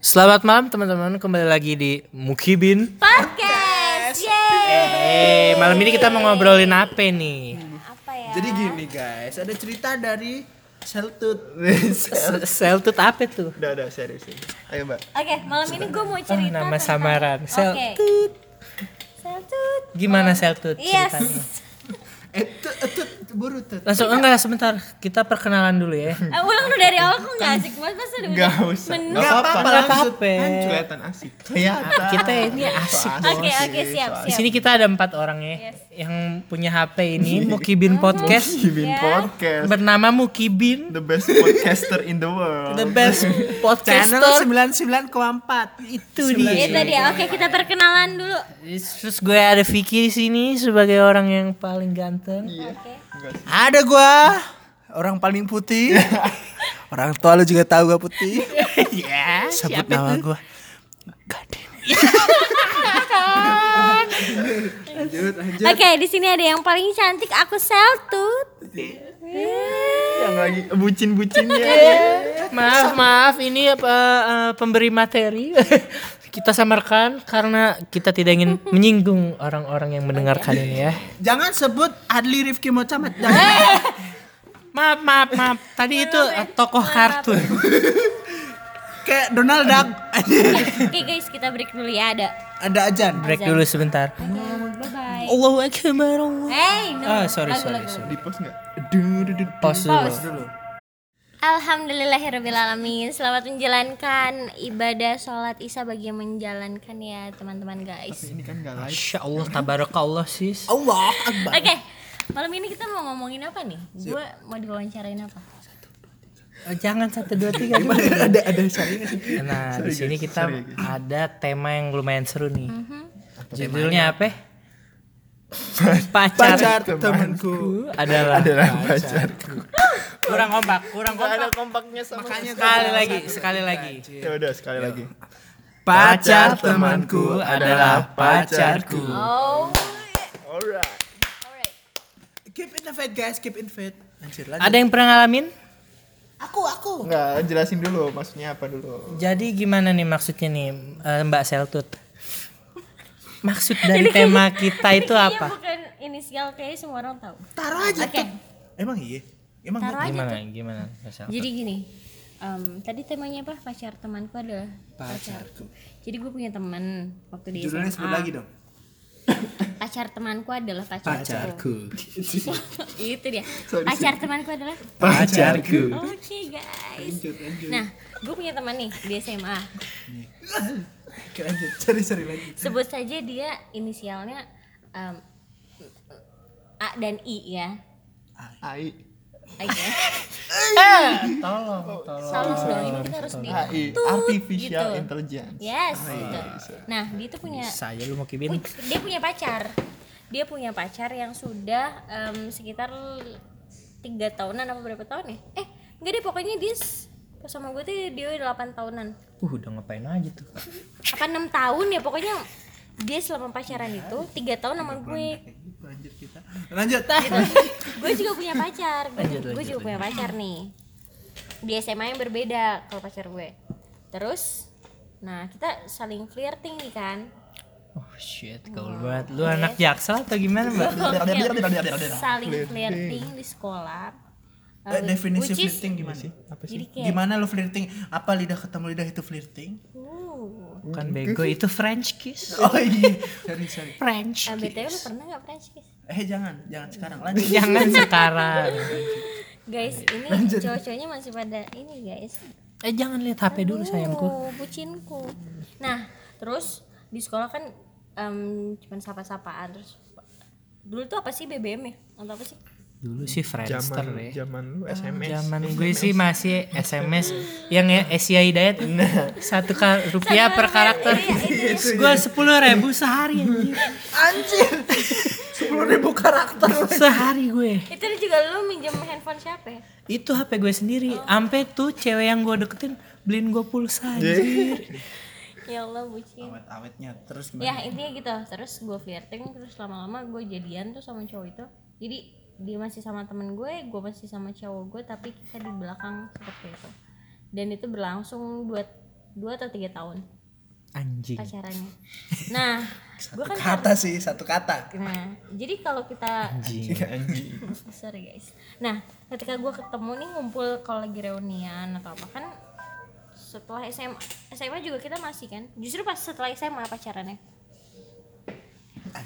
Selamat malam teman-teman, kembali lagi di Mukibin. podcast. Eh, Yeay. malam ini kita mau ngobrolin apa nih? Apa ya? Jadi gini guys, ada cerita dari Seltut. S- Seltut apa tuh? Udah, udah serius ini. Ayo mbak. Oke, malam ini gue mau cerita Ah, nama tentang- samaran. Oke. Seltut. Seltut. Gimana Seltut Yes. ceritanya? Eh, tut, eh, tut, buru tut. Langsung enggak sebentar, kita perkenalan dulu ya. Eh, ulang lu dari awal kok gak asik banget masa udah Gak bilang usah. men- Nggak apa-apa, Nggak langsung. apa-apa. Kelihatan asik. Kelihatan. Iya, Kita ini asik. Oke, oke, siap, Di siap. sini kita ada empat orang ya yang punya HP ini Mukibin Podcast Kibin Ya. Podcast. bernama Mukibin The best podcaster in the world. the best Channel podcaster 99,4. itu dia. Ya, Itu dia. Oke, kita perkenalan dulu. Terus gue ada Vicky di sini sebagai orang yang paling ganteng. Oke. Ada gua orang paling putih. orang tua lu juga tahu gua putih. Ya, Sebut siapa nama itu? gua. Gading. Oke, di sini ada yang paling cantik aku Seltut. Yang lagi bucin-bucinnya. Maaf, maaf, ini apa eh, pemberi materi. kita samarkan karena kita tidak ingin menyinggung orang-orang yang mendengarkan ini ya. Jangan sebut Adli Rifki Mocamat. Jangan. Maaf, maaf, maaf. Tadi itu eh, tokoh kartun. Kayak Donald Duck. Oke, guys, kita break dulu ya ada. ada ajan. Break dulu sebentar. Bye bye. Allahu akbar. Allah. Hey, no. Ah, sorry, Lagu, sorry, lagu. sorry. Di post nggak? Du- du- du- Pause dulu. Alhamdulillahirrahmanirrahim Selamat menjalankan ibadah sholat isya bagi yang menjalankan ya teman-teman guys Ini kan nggak live. Masya Allah, tabarakallah sis. Allah Akbar. Oke, malam ini kita mau ngomongin apa nih? Gue mau diwawancarain apa? Eh, Jangan satu dua tiga. dulu. ya? ada ada syariah. Nah, di sini kita ada tema yang lumayan seru nih. Judulnya apa? Pacar. Pacar temanku. adalah Adalah pacar. kurang kompak, kurang kompak. kompaknya sama Sekali lagi, sekali lagi. Ya udah sekali lagi. Pacar temanku adalah pacarku. Oh, Alright. Keep in the faith guys, keep in faith. Anjir lanjut. Ada yang pernah ngalamin? Aku aku. Nggak jelasin dulu maksudnya apa dulu. Jadi gimana nih maksudnya nih eh, Mbak Seltut? Maksud dari tema kita itu Iya apa? bukan inisial kayaknya semua orang tahu. Taruh aja. Oke, Emang iya. Emang taruh aja. Gimana? Gimana? Mbak Seltut? Jadi gini, em, tadi temanya apa? Pacar temanku adalah pacarku. Jadi gue punya teman waktu di judulnya SMA. sebut lagi dong. Pacar temanku adalah pacarku. Pacarku. Itu dia. Pacar temanku adalah Pacarku. Oke guys. Nah, gue punya teman nih di SMA. Oke, lanjut. Cari cari lagi. Sebut saja dia inisialnya em, A dan I ya. AI. Oke. Eh, tolong, tolong. dong, ini kita harus di AI. gitu. Artificial Intelligence. Yes, gitu. Nah, dia tuh punya saya lu mau kibin. Wih, dia punya pacar. Dia punya pacar yang sudah em, sekitar tiga tahunan apa berapa tahun ya? Eh, enggak deh pokoknya dia s- sama gue tuh dia udah 8 tahunan. Uh, udah ngapain aja tuh. apa enam tahun ya pokoknya dia selama pacaran itu tiga tahun sama gue Gitu. Lanjut kita. Lanjut. gue juga punya pacar gue gue juga punya pacar nih di SMA yang berbeda kalau pacar gue terus nah kita saling flirting nih kan Oh shit, gaul banget. Lu anak Iya. jaksel atau gimana, Mbak? saling flirting di sekolah Eh, Lalu- which definisi is- flirting gimana sih? jadi kayak Gimana lo flirting? Apa lidah ketemu lidah itu flirting? uh, Iya. Bukan bego, Oh, itu French kiss. Oh iya. Sorry sorry. French. ah, BTW lu pernah gak French kiss? Eh jangan, jangan sekarang. Lanjut. Jangan sekarang. Guys, ini cowok-cowoknya masih pada ini guys Eh jangan lihat HP dulu sayangku. Oh, bucinku. Nah, terus di sekolah kan em, cuman sapa-sapaan terus dulu tuh apa sih BBM ya? Atau apa sih? Dulu sih Friendster ya. Zaman zaman lu SMS. Zaman gue sih masih SMS yang ya- Asia Hidayat satu Iya, ka- rupiah per karakter. gue sepuluh ribu sehari anjir. Anjir. 10.000 karakter. sehari gue. Itu juga lu minjem handphone siapa ya? Itu HP gue sendiri. Ampe tuh cewek yang gue deketin beliin gue pulsa anjir. Ya Allah, bucin. Awet-awetnya terus Ya, intinya gitu. Terus gue flirting terus lama-lama gue jadian tuh sama cowok itu. Jadi dia masih sama temen gue, gue masih sama cowok gue tapi kita di belakang seperti itu. Dan itu berlangsung buat dua atau tiga tahun Anjing. pacarannya nah gue kan Kata sih satu kata. nah jadi kalau kita Anjing. Anjing. sorry guys nah ketika gue ketemu nih ngumpul kalau lagi reunian atau apa kan setelah SMA SMA juga kita masih kan justru pas setelah SMA pacarannya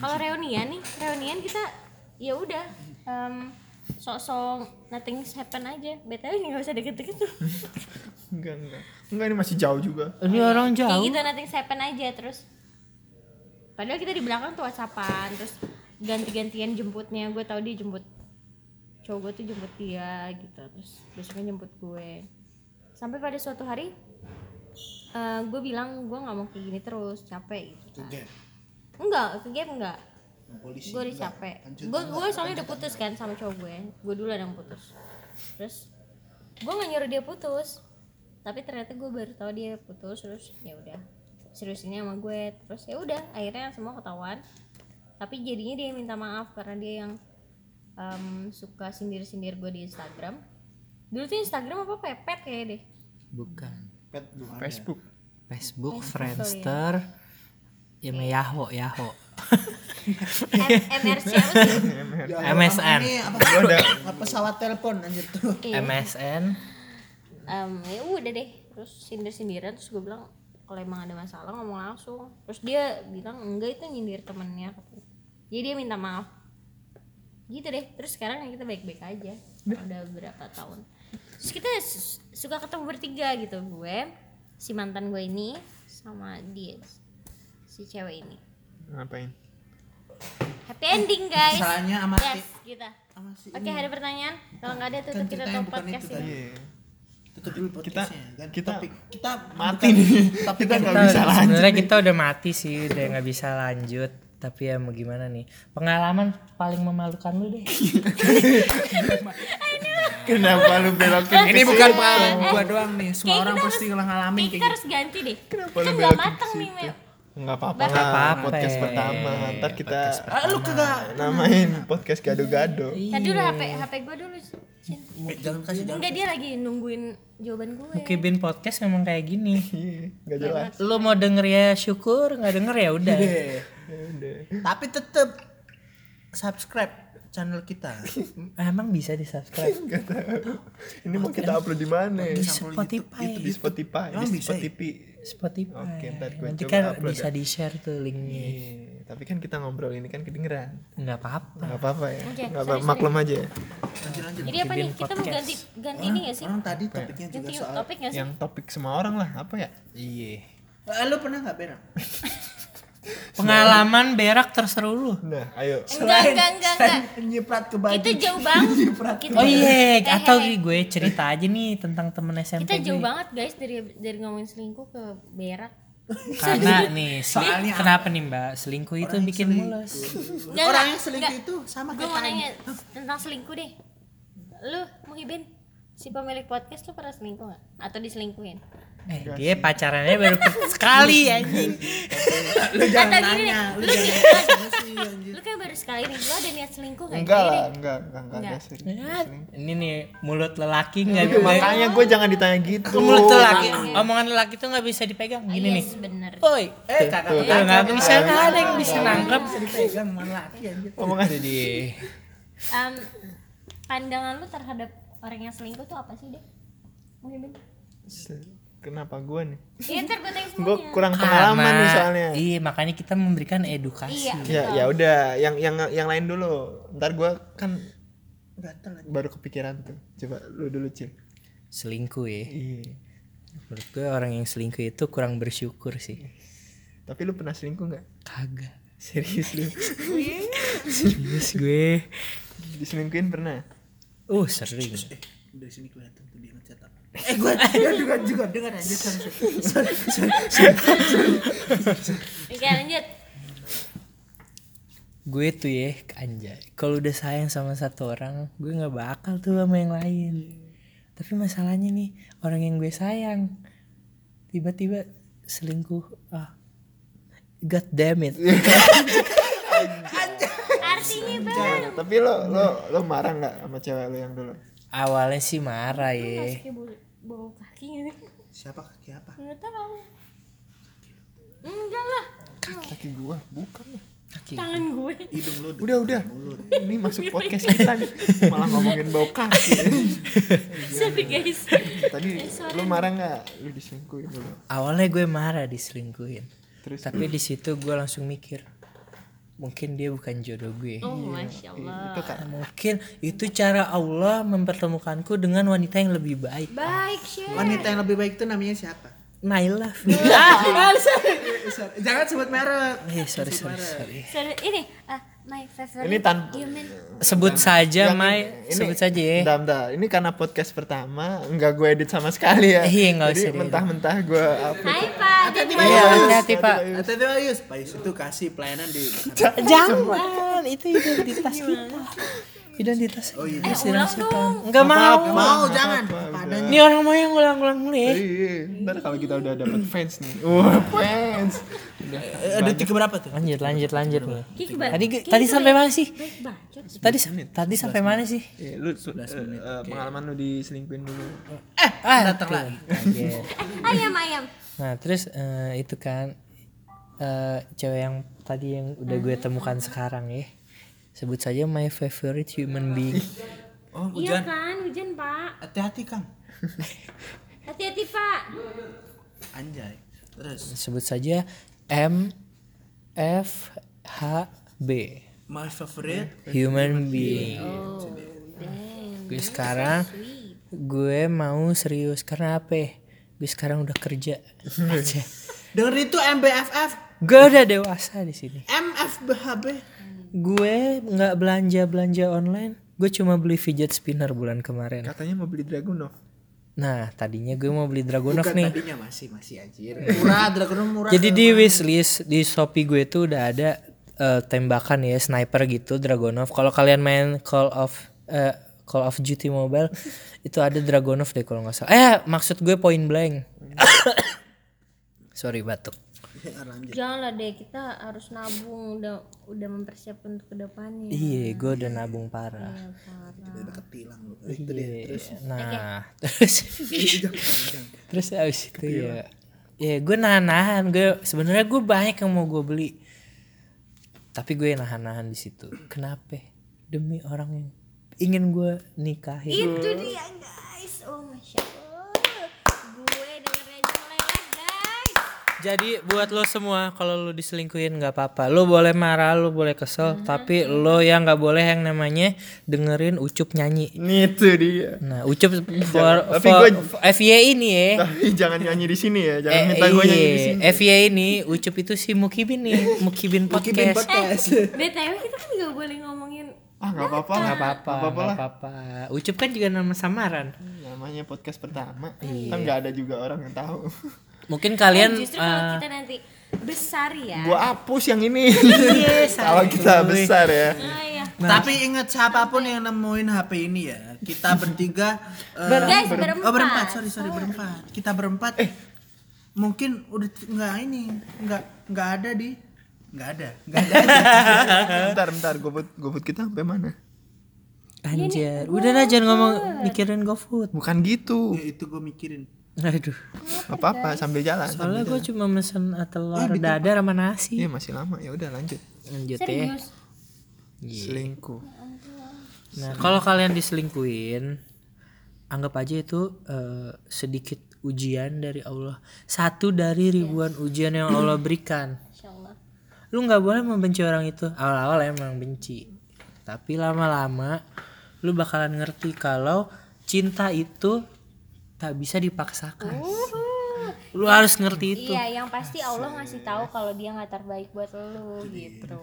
kalau reunian nih reunian kita ya udah em, sok-sok nothing happen aja btw nggak usah deket-deket tuh Enggak, enggak. Enggak ini masih jauh juga. Ini orang kayak jauh. gitu nothing happen aja terus padahal kita di belakang tuh whatsappan terus ganti-gantian jemputnya gue tau dia jemput cowok gue tuh jemput dia gitu terus besoknya jemput gue sampai pada suatu hari eh, gue bilang gue nggak mau kayak gini terus capek gitu kan. enggak ke gap enggak Polisi. gue udah capek gue gue soalnya udah putus kan sama cowok gue gue dulu yang putus terus gue nggak nyuruh dia putus tapi ternyata gue baru tahu dia putus terus ya udah seriusnya sama gue terus ya udah akhirnya semua ketahuan tapi jadinya dia minta maaf karena dia yang em, suka sindir-sindir gue di Instagram dulu tuh Instagram apa pepet kayak deh Bukan. Pet belum ada. Facebook. Facebook, Friendster, ya me Yahoo, Yahoo. M- MRC apa sih MSN. Ini apa tuh? Udah. Apa pesawat telepon anjir tuh. Iya. MSN. Em, ya udah deh terus sindir sindiran terus gue bilang kalau emang ada masalah ngomong langsung terus dia bilang enggak itu nyindir temennya katanya. jadi dia minta maaf gitu deh terus sekarang kita baik baik aja udah berapa tahun terus kita s- suka ketemu bertiga gitu gue si mantan gue ini sama dia si cewek ini Ngapain? happy ending guys Masalahnya Eh, sama yes kita sama si oke ada pertanyaan kalau nggak ada tutup Kan kita ceritanya tutup bukan itu podcast tadi. ini Iya. tutup dulu Kita- podcastnya ganti kita topik. kita mati bukan- nih. tapi Kita kan nggak Kita- bisa lanjut Sebenarnya kita udah mati sih, udah nggak bisa lanjut. Tapi ya mau gimana nih? Pengalaman paling memalukan lu deh. Kenapa lu belokin? ini bukan pengalaman gua doang nih semua Kayak gitu, orang kita pasti ngalamin Kayak kita kayak gitu harus ganti deh. kan Kenapa lu nggak belok ke matang nih, situ? Mel. Enggak apa-apa Nggak lah. apa-apa. Podcast pertama. Ntar kita ah, lu kagak namain podcast gado-gado. Tadi dulu HP HP gue dulu. Cin. jangan kasih jangan Enggak dia lagi nungguin jawaban gue. Kibin podcast memang kayak gini. Iya, nggak jelas. Lu mau denger ya syukur, nggak denger ya udah. Deh. Ya udah. tapi tetep subscribe channel kita Emang bisa di subscribe? Nggak tahu. Ini mau kita upload di mana? Di Spotify, Di Spotify, Emang di bisa ya? Spotify. Spotify. Oke, ntar gue Nanti coba kan upload ya. bisa di share tuh linknya. Iya, tapi kan kita ngobrol ini kan kedengeran. Nggak apa-apa. Nggak apa-apa ya. Oke, Nggak apa maklum aja ya. lanjut lanjut Jadi apa nih? Kita mau ganti ganti ini ya sih? orang tadi topiknya juga Ganti soal topik nggak sih? Yang topik semua orang lah, apa ya? Iya. Eh, lu pernah nggak benar Pengalaman berak terseru lu. Nah, ayo. Iya. Enggak, enggak, enggak, enggak. nyiprat ke baju Kita jauh banget. Kita, Oh iya, Eh, atau eh, gue cerita aja nih tentang temen SMP kita jauh gue. banget guys dari dari ngomongin selingkuh ke berak. Karena nih, seli- Soalnya apa? kenapa nih mbak? Selingkuh itu bikin mules. Enggak, orang enggak, yang selingkuh enggak. itu sama Gue kayak mau tai. nanya tentang selingkuh deh. Lu, Muhibin, si pemilik podcast lu pernah selingkuh nggak? Atau diselingkuhin? Eh, dia pacarannya baru ke- Iya. sekali anjing. lu jangan Atau gini nanya deh, lu lu jangan nih- nanya sih anjir Lu kayak baru sekali nih, lu ada niat selingkuh nggak? Enggak Jadi lah, deh. enggak, enggak, enggak ada Enggak. sih. Ya, Ini nih mulut lelaki nggak Tapi bisa. Makanya gue jangan ditanya gitu. Mulut lelaki, omongan lelaki tuh nggak bisa dipegang. Gini nih. yes, bener. Oi, eh Iya. Tuh, kakak nggak bisa nggak ada yang bisa nangkep. pegang mana lagi anjir Omongan Em, pandangan lu terhadap orang yang selingkuh tuh apa sih deh? Mungkin Kenapa gue nih? Iya ntar gue tanya Gue semuanya. kurang pengalaman Karena- nih soalnya. Iya, makanya kita memberikan edukasi. Iya. Ya, Gitu. ya udah, yang yang yang lain dulu. Ntar gue kan gatel baru kepikiran tuh. Coba lu dulu cil. Selingkuh ya. Iya. Menurut gue orang yang selingkuh itu kurang bersyukur sih. Tapi lu pernah selingkuh nggak? Kagak. Serius lu? Serius gue. Diselingkuhin pernah? Uh, sering. Eh, dari sini kelihatan tuh dia ngecat apa. Eh, gue juga juga dengar aja sorry, sorry. sorry. sorry, sorry. Oke lanjut. Gue tuh ya, anjay. Kalau udah sayang sama satu orang, gue nggak bakal tuh sama yang lain. Tapi masalahnya nih, orang yang gue sayang tiba-tiba selingkuh. Ah. God damn it. Artinya bang. Tapi lo lo lo marah nggak sama cewek lo yang dulu? Awalnya sih marah ya. Kayak bau bau kaki gitu. Siapa kaki apa? nggak tahu enggak lah Kaki gua bukan. tangan gue Hidung lu Udah udah. Ini masuk podcast kita nih. Malah ngomongin bau kaki. Eh, sorry Eh, guys Tadi lu marah nggak? Lu diselingkuhin dulu. awalnya gue marah diselingkuhin Terus? tapi di situ gue langsung mikir mungkin dia bukan jodoh gue oh masya allah Itu kan. mungkin itu cara Allah mempertemukanku dengan wanita yang lebih baik baik sih Wanita yang lebih baik itu namanya siapa? Naila Jangan sebut merek. eh sorry sorry sorry sorry ini ah my favorite Ini tan human sebut saja Yang Ya, Mai ini- sebut saja ya Bentar, bentar. Ini karena podcast pertama nggak gue edit sama sekali ya. Iya, nggak usah Jadi diedit. mentah-mentah gue upload. hai pak jadi iya hati-hati pak Atau itu Ayus, Pak Ayus itu kasih pelayanan di jangan itu identitas kita identitas Oh, iya. kita sedang setan nggak mau mau Oh, jangan padanya ini orang mau yang ulang-ulang mulu ya Iya, ntar kalau kita udah dapet fans nih. Wah, fans. Udah. ada tiga berapa tuh lanjut lanjut lanjut nih Kiki tadi tadi sampai mana sih baik bacot tadi sam- tadi sampai mana sih Iya, lu eh, eh, pengalaman lu diselingkuhin dulu. ah datang lagi ayam ayam nah terus eh, itu kan eh, cewek yang tadi yang udah gue temukan sekarang ya sebut saja my favorite human being oh iya hujan kan hujan pak hati-hati kang hati-hati pak anjay terus sebut saja M F H B my favorite human being oh damn gue sekarang sweet gue mau serius karena apa ya? gue sekarang udah kerja aja denger itu MBFF gue udah dewasa di sini MFBHB gue nggak belanja belanja online gue cuma beli fidget spinner bulan kemarin Katanya mau beli Dragunov. nah tadinya gue mau beli Dragunov bukan nih tadinya masih masih anjir murah dragon murah jadi di wishlist di shopee gue tuh udah ada eh, tembakan ya sniper gitu Dragunov kalau kalian main Call of eh, Call of Duty Mobile itu ada Dragunov deh kalau nggak salah eh maksud gue point blank sorry batuk janganlah deh kita harus nabung udah udah mempersiapkan untuk kedepannya Iya, gue udah nabung parah. Tiba-tiba ketilang lu itu dia Iya, Iya, nah terus terus abis itu ya, ya gue nahan-nahan. Gue sebenarnya gue banyak yang mau gue beli, tapi gue nahan-nahan di situ. Kenapa? Demi orang yang ingin gue nikahin. itu dia guys oh masya allah gue dengerin aja meleleh guys Jadi buat lo semua, kalau lo diselingkuhin nggak apa-apa. Lo boleh marah, lo boleh kesel, tapi lo yang nggak boleh yang namanya dengerin ucup nyanyi. Nih itu dia. Nah, ucup for, Iya, tapi for- gua- for FY ini ya. Tapi jangan nyanyi di sini ya. Jangan Eh, minta gue iya. nyanyi di sini. FYI ini Ucup itu si Mukibin nih, Mukibin podcast. Mungkin podcast btw kita kan nggak boleh ngomongin Ah, nggak apa-apa. Nggak Nggak apa-apa, Nggak apa-apa nggak lah. apa-apa. Ucup kan juga nama samaran. Namanya podcast pertama. Iya. Kan nggak ada juga orang yang tahu. Mungkin dan kalian justru kalau eh, kita nanti besar Nah. ya Gua hapus yang ini. Iya, Kalau kita besar ya. ah, iya. tapi ingat siapapun yang nemuin HP ini ya kita bertiga eh, guys Oh berempat, berempat sorry sorry berempat. Kita berempat. Eh, mungkin udah t- nggak ini, nggak nggak ada di, nggak ada, nggak ada. bentar, bentar. Gobut, gobut kita sampai mana? anjir, udah lah jangan ngomong mikirin GoFood. Bukan gitu. Ya, itu gue mikirin. Aduh, Apa-apa sambil jalan. soalnya gue cuma mesen eh, Eh, telur dadar sama nasi. Iya masih lama. Ya udah lanjut. Lanjut ya. Iya. serius Selingkuh. Nah, kalau kalian diselingkuhin, anggap aja itu eh, sedikit ujian dari Allah. Satu Iya. dari ribuan ujian yang Allah berikan. insya allah lu nggak boleh membenci orang itu awal-awal emang benci tapi lama-lama lu bakalan ngerti kalau cinta itu tak bisa dipaksakan lu harus ngerti itu Uhuh. iya yang pasti allah ngasih tahu kalau dia nggak terbaik buat lu gitu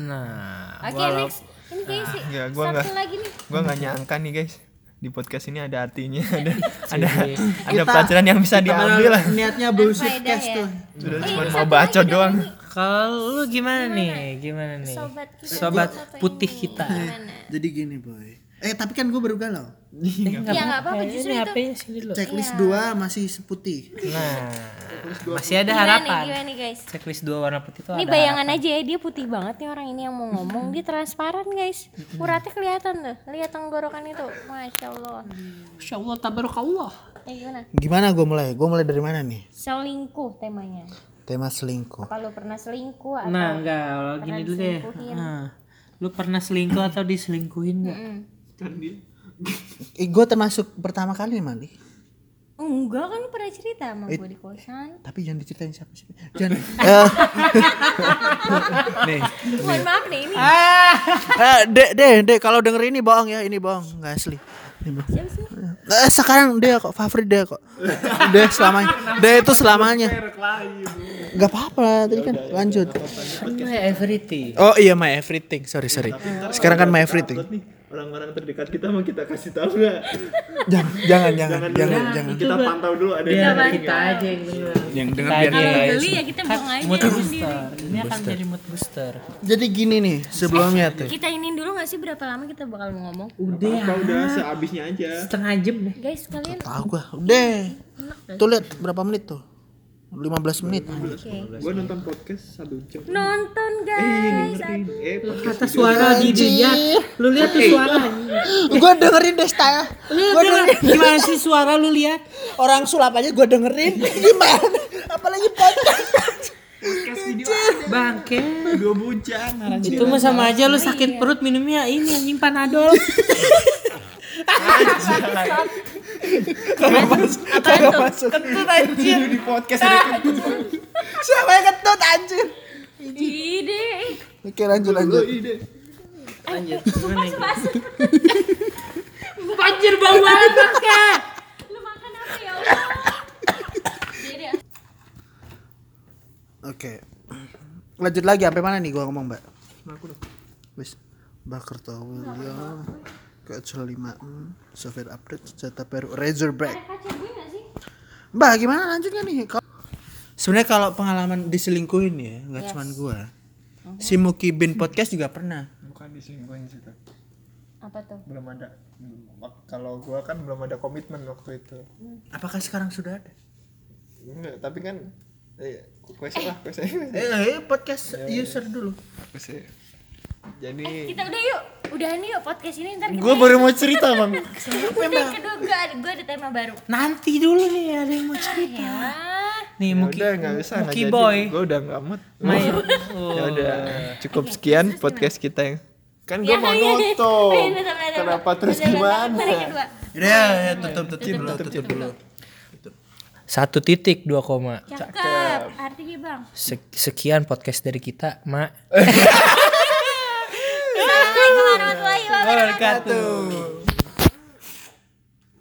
nah oke next ini guys sih Ah. Nggak, gua satu nggak. lagi nih Gua nggak nyangka nih guys. Di podcast ini ada artinya. Ada ada Jadi, ada pelajaran yang bisa diambil. lah. Eh, Niatnya bullshit faedah cast ya. tuh. Sudah cuma mau baca doang. kalau lu gimana, nih gimana nih sobat kita sobat yang satu putih ini. Nah, kita gimana Jadi gini boy. Eh tapi kan gue baru galau. ya nggak apa-apa ini justru HP-nya Iya, sini dulu Checklist dua masih seputih. nah masih ada gimana nih, harapan gimana nih guys checklist dua warna putih itu Ini ada bayangan aja ya dia putih banget nih orang ini yang mau ngomong dia transparan guys. Uratnya kelihatan tuh, lihat tenggorokan itu, masya Allah. Masya Allah tabarak Allah Eh gimana? Gimana gue mulai? Gue mulai dari mana nih? Selingkuh temanya. Tema selingkuh. Apa lu pernah selingkuh atau Nah, enggak, kalau pernah gini dulu deh. diselingkuhin? Ah, lu pernah selingkuh atau diselingkuhin enggak? Mm. kan dia Gue termasuk pertama kali Mali. Enggak kan lu pernah cerita sama gue di kosan. Tapi jangan diceritain siapa sih. Jangan. Eh, Nih, Mohon maaf nih ini. eh, dek, dek, dek. Kalau denger ini bohong ya. Ini bohong. Nggak asli. Ini bohong. Siapa sih? Eh, sekarang dia kok favorit dia kok. Dia selamanya. Dia itu selamanya. Gak apa-apa tadi kan lanjut. my everything. Oh iya my everything. Sorry sorry. Sekarang kan my everything. Buat nih orang-orang terdekat kita mau kita kasih tahu nggak Jangan jangan jangan jangan jangan. kita pantau dulu ada Biar yang penting Iya, kita aja yang dengar. Yang dengar Kita biar aja. Kalau Iya, geli ya kita buang aja Mood sendiri. booster. Ini akan jadi mood booster. Jadi gini nih sebelumnya tuh. Kita inin dulu gak sih berapa lama kita bakal ngomong? Udah apa udah sehabisnya aja setengah jam deh. Guys kalian Tahu gua. Udah. Tuh lihat berapa menit tuh? 15 menit. gue nonton podcast satu jam nonton guys. eh Kata podcast suara di dia. Lu lihat tuh suara. Gua dengerin Desta. Lu dengar gimana sih suara lu lihat? Orang sulap aja gua dengerin. Gimana? Apalagi podcast. podcast video Bangke. dua bujang ngarang Itu mah sama aja lu sakit perut minumnya ini anjing panadol. Kagak masuk. Kentut anjing. di podcast ada Siapa yang ketut anjir? Ide. Oke lanjut lanjut. Lu ide Lanjut. Eh, Gimana nih? Banjir bau banget Kak. Lu makan apa ya Allah? Ide. Oke. Lanjut lagi sampai mana nih gua ngomong, Mbak? Wis. Bakar towel ya. Ke 5 software update serta Peru Razorback. Kaca gue gak sih? Mbak, gimana lanjutnya nih? Kalau- Sebenarnya kalau pengalaman diselingkuhin ya, nggak cuman gua. Mhm. Si Muki Bin podcast juga pernah. bukan diselingkuhin sih Kak. Apa tuh? belum ada Mak- kalau gue kan belum ada komitmen waktu itu Apakah sekarang sudah ada? enggak tapi kan eh kuese lah kuese Eh, eh, podcast user dulu. kuese jadi Kita udah yuk. Udahan yuk podcast ini ntar kita. gue baru mau cerita bang Udah kedua gue ada, gue ada tema baru. Nanti dulu nih ada yang mau cerita. Ya. Nih Muki, udah nggak usah nggak Muki jadi Boy. gue udah nggak mood Main. Oh. ya udah cukup sekian podcast kita yang kan Ya, gue mau iya, iya. nutup Iya, tetap, tetap. kenapa terus Tetap, tetap. Tarik gimana kedua. Ya, ya, tutup tutup dulu, tutup dulu. Satu titik dua koma. Cakep. Artinya bang. Sek- Sekian podcast dari kita, Mak. Assalamualaikum warahmatullahi wabarakatuh. Wabarakatuh.